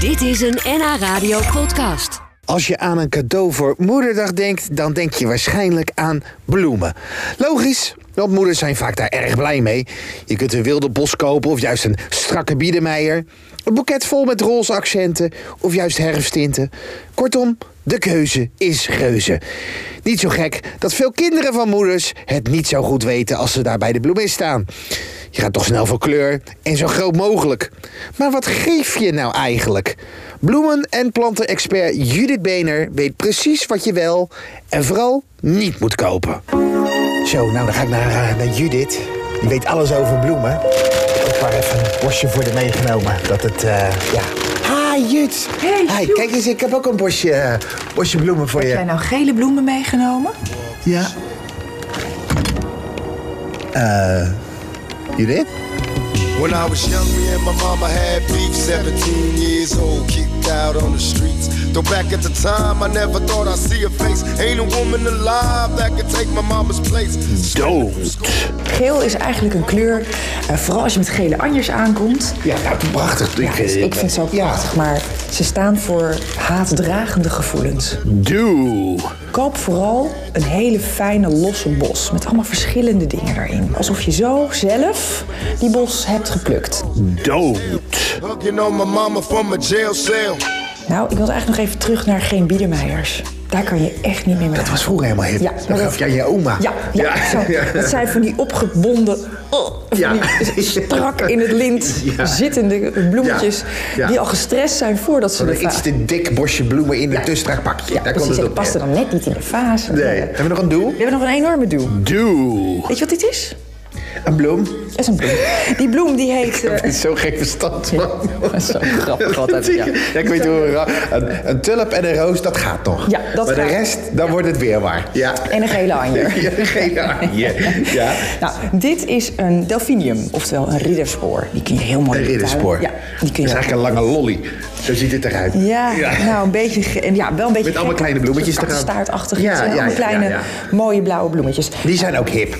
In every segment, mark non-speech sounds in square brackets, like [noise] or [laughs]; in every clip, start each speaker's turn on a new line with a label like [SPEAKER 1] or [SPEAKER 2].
[SPEAKER 1] Dit is een NH Radio podcast.
[SPEAKER 2] Als je aan een cadeau voor Moederdag denkt, dan denk je waarschijnlijk aan bloemen. Logisch, want moeders zijn vaak daar erg blij mee. Je kunt een wilde bos kopen of juist een strakke biedemeijer. Een boeket vol met roze accenten of juist herfsttinten. Kortom, de keuze is reuze. Niet zo gek dat veel kinderen van moeders het niet zo goed weten als ze daar bij de bloemist staan. Je gaat toch snel voor kleur en zo groot mogelijk. Maar wat geef je nou eigenlijk? Bloemen- en plantenexpert Judith Bener weet precies wat je wel en vooral niet moet kopen. Zo, nou dan ga ik naar, eh, naar Judith. Die weet alles over bloemen. Ik heb maar even een bosje voor de meegenomen. Dat het, eh, ja... Hi Jut!
[SPEAKER 3] Hey, Joep.
[SPEAKER 2] kijk eens, ik heb ook een bosje, eh, bosje bloemen voor
[SPEAKER 3] Heb jij
[SPEAKER 2] je.
[SPEAKER 3] nou gele bloemen meegenomen?
[SPEAKER 2] Ja. Eh, Judith?
[SPEAKER 4] When I was young, me and my mama had beef. 17 years old, kicked out on the streets. Though back at the time, I never thought I'd see a face. Ain't a woman alive that could take my mama's place.
[SPEAKER 2] Dood!
[SPEAKER 3] Geel is eigenlijk een kleur, eh, vooral als je met gele anjers aankomt.
[SPEAKER 2] Ja, nou, prachtig. eh,
[SPEAKER 3] Ja, dus ik vind ze ook prachtig, maar ze staan voor haatdragende gevoelens.
[SPEAKER 2] Doe.
[SPEAKER 3] Koop vooral een hele fijne losse bos met allemaal verschillende dingen erin. Alsof je zo zelf die bos hebt geplukt.
[SPEAKER 2] Dood.
[SPEAKER 4] Hugging on my mama from a jail cell.
[SPEAKER 3] Nou, ik wil eigenlijk nog even terug naar geen biedermeijers. Daar kan je echt niet meer mee.
[SPEAKER 2] Dat was vroeger helemaal hip.
[SPEAKER 3] Ja,
[SPEAKER 2] dat
[SPEAKER 3] maar
[SPEAKER 2] gaf
[SPEAKER 3] dat-
[SPEAKER 2] jij je oma.
[SPEAKER 3] Ja, ja,
[SPEAKER 2] Ja.
[SPEAKER 3] zo. dat
[SPEAKER 2] [laughs]
[SPEAKER 3] zijn van die opgebonden, oh, van
[SPEAKER 2] Ja.
[SPEAKER 3] die strak in het lint
[SPEAKER 2] Ja.
[SPEAKER 3] zittende bloemetjes...
[SPEAKER 2] Ja. Ja.
[SPEAKER 3] die al gestrest zijn voordat ze
[SPEAKER 2] Een
[SPEAKER 3] de vaas...
[SPEAKER 2] iets te dik bosje bloemen in een te strak pakje.
[SPEAKER 3] Ja,
[SPEAKER 2] Daar
[SPEAKER 3] precies,
[SPEAKER 2] komt het
[SPEAKER 3] en die
[SPEAKER 2] op.
[SPEAKER 3] paste dan net niet in de vaas.
[SPEAKER 2] Nee. Hebben we nog een doel?
[SPEAKER 3] We hebben nog een enorme duw.
[SPEAKER 2] Doe.
[SPEAKER 3] Weet je wat dit is?
[SPEAKER 2] Een bloem?
[SPEAKER 3] Dat is een bloem. Die bloem die heet... eh,
[SPEAKER 2] Dat is zo gek verstand, man.
[SPEAKER 3] [laughs] dat is zo grappig altijd, ja.
[SPEAKER 2] ik weet hoe een, ra- een, een tulp en een roos, dat gaat nog.
[SPEAKER 3] Ja, dat
[SPEAKER 2] maar
[SPEAKER 3] gaat.
[SPEAKER 2] de rest, dan wordt het weer waar. Ja.
[SPEAKER 3] En een gele anjer.
[SPEAKER 2] [laughs] Ja, geen
[SPEAKER 3] [laughs]
[SPEAKER 2] armje. [laughs] Ja.
[SPEAKER 3] Nou, dit is een delphinium, oftewel een ridderspoor. Die kun je heel mooi
[SPEAKER 2] Een
[SPEAKER 3] in de tuin-
[SPEAKER 2] ridderspoor.
[SPEAKER 3] Ja, die
[SPEAKER 2] Dat
[SPEAKER 3] kun
[SPEAKER 2] is
[SPEAKER 3] je
[SPEAKER 2] eigenlijk een lange lolly. Zo ziet het eruit.
[SPEAKER 3] Ja, nou een beetje, ge- en ja, wel een beetje
[SPEAKER 2] Met allemaal
[SPEAKER 3] gek.
[SPEAKER 2] kleine bloemetjes
[SPEAKER 3] Een soort
[SPEAKER 2] eraan.
[SPEAKER 3] Staartachtig
[SPEAKER 2] Ja,
[SPEAKER 3] iets. en
[SPEAKER 2] ja,
[SPEAKER 3] allemaal
[SPEAKER 2] ja, ja,
[SPEAKER 3] kleine,
[SPEAKER 2] ja.
[SPEAKER 3] mooie blauwe bloemetjes.
[SPEAKER 2] Die zijn ook hip.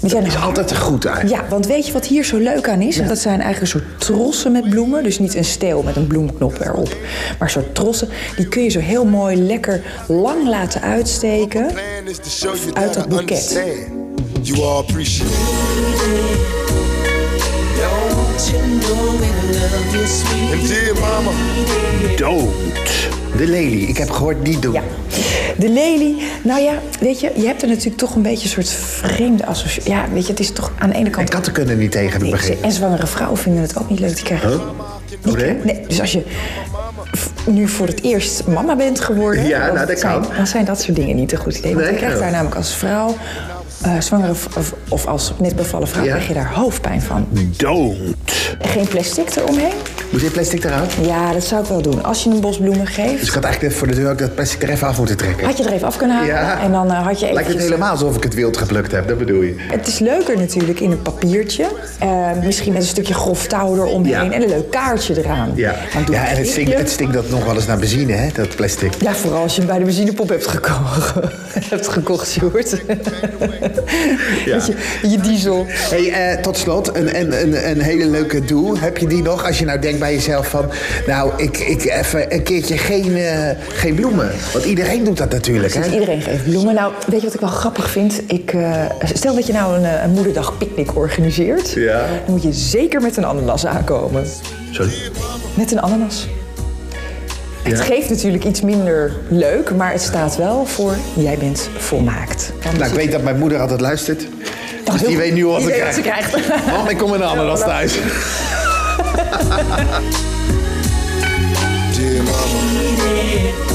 [SPEAKER 3] Die zijn dus-
[SPEAKER 2] Dat is altijd goed uit.
[SPEAKER 3] Ja, want weet je wat hier zo leuk aan is? Dat zijn eigenlijk een soort trossen met bloemen. Dus niet een steel met een bloemknop erop. Maar soort trossen, die kun je zo heel mooi lekker lang laten uitsteken.
[SPEAKER 4] Plan is to show you
[SPEAKER 3] Uit
[SPEAKER 4] that
[SPEAKER 3] dat
[SPEAKER 4] I
[SPEAKER 3] boeket.
[SPEAKER 4] understand. You all appreciate it. And dear mama,
[SPEAKER 2] Dood. De lelie, ik heb gehoord, die doen.
[SPEAKER 3] Ja. De lelie, nou ja, weet je, je hebt er natuurlijk toch een beetje een soort vreemde associatie. Ja, weet je, het is toch aan de ene
[SPEAKER 2] En
[SPEAKER 3] kant
[SPEAKER 2] katten kunnen niet tegen het begin.
[SPEAKER 3] En zwangere vrouwen vinden het ook niet leuk. Die krijgen. Die
[SPEAKER 2] Hoe dan?
[SPEAKER 3] krijgen- nee, dus als je f- nu voor het eerst mama bent geworden.
[SPEAKER 2] Ja,
[SPEAKER 3] dan,
[SPEAKER 2] nou, dat
[SPEAKER 3] zijn,
[SPEAKER 2] kan.
[SPEAKER 3] dan zijn dat soort dingen niet een goed idee. Want
[SPEAKER 2] Nee,
[SPEAKER 3] je krijgt
[SPEAKER 2] ja.
[SPEAKER 3] daar namelijk als vrouw. eh, zwangere v- of, of als net bevallen vrouw
[SPEAKER 2] Ja. Hm.
[SPEAKER 3] krijg je daar hoofdpijn van.
[SPEAKER 2] Dood.
[SPEAKER 3] En Geen plastic eromheen?
[SPEAKER 2] Moet dit plastic eruit?
[SPEAKER 3] Ja, dat zou ik wel doen. Als je een bos bloemen
[SPEAKER 2] Dus
[SPEAKER 3] geeft,
[SPEAKER 2] ik had eigenlijk net voor de deur ook dat plastic er even af moeten trekken.
[SPEAKER 3] had je er even af kunnen halen.
[SPEAKER 2] Ja.
[SPEAKER 3] En dan eh, had je
[SPEAKER 2] Lijkt
[SPEAKER 3] eventjes...
[SPEAKER 2] het helemaal alsof ik het wild geplukt heb, dat bedoel je.
[SPEAKER 3] Het is leuker natuurlijk in een papiertje. Eh, misschien met een stukje grof touw eromheen
[SPEAKER 2] Ja.
[SPEAKER 3] en een leuk kaartje eraan. Dan doe
[SPEAKER 2] ja
[SPEAKER 3] ik
[SPEAKER 2] en het
[SPEAKER 3] een
[SPEAKER 2] stinkt,
[SPEAKER 3] briefje.
[SPEAKER 2] het stinkt dat nog wel eens naar benzine, hè, dat plastic.
[SPEAKER 3] Ja, vooral als je hem bij de benzinepop hebt gekocht, [laughs] hebt gekocht Sjoerd. Met je, je diesel.
[SPEAKER 2] Hey, eh, tot slot, een, een, een, een hele leuke doel. Heb je die nog? Als je nou denkt bij jezelf van... Nou, ik, ik even een keertje geen, eh, geen bloemen. Want iedereen doet dat natuurlijk,
[SPEAKER 3] Dus
[SPEAKER 2] hè?
[SPEAKER 3] iedereen geeft bloemen. Nou, weet je wat ik wel grappig vind? Ik, eh, stel dat je nou een, eh, een moederdag picknick organiseert.
[SPEAKER 2] Ja.
[SPEAKER 3] Dan moet je zeker met een ananas aankomen.
[SPEAKER 2] Sorry.
[SPEAKER 3] Met een ananas. Het geeft natuurlijk iets minder leuk, maar het staat wel voor jij bent volmaakt.
[SPEAKER 2] Nou, ik weet dat mijn moeder altijd luistert. Dus
[SPEAKER 3] heel
[SPEAKER 2] die
[SPEAKER 3] goed.
[SPEAKER 2] weet nu al wat
[SPEAKER 3] Die
[SPEAKER 2] ze
[SPEAKER 3] weet wat
[SPEAKER 2] krijgt.
[SPEAKER 3] ze krijgt.
[SPEAKER 2] Mam, ik kom met een ananas thuis.
[SPEAKER 4] dear mama.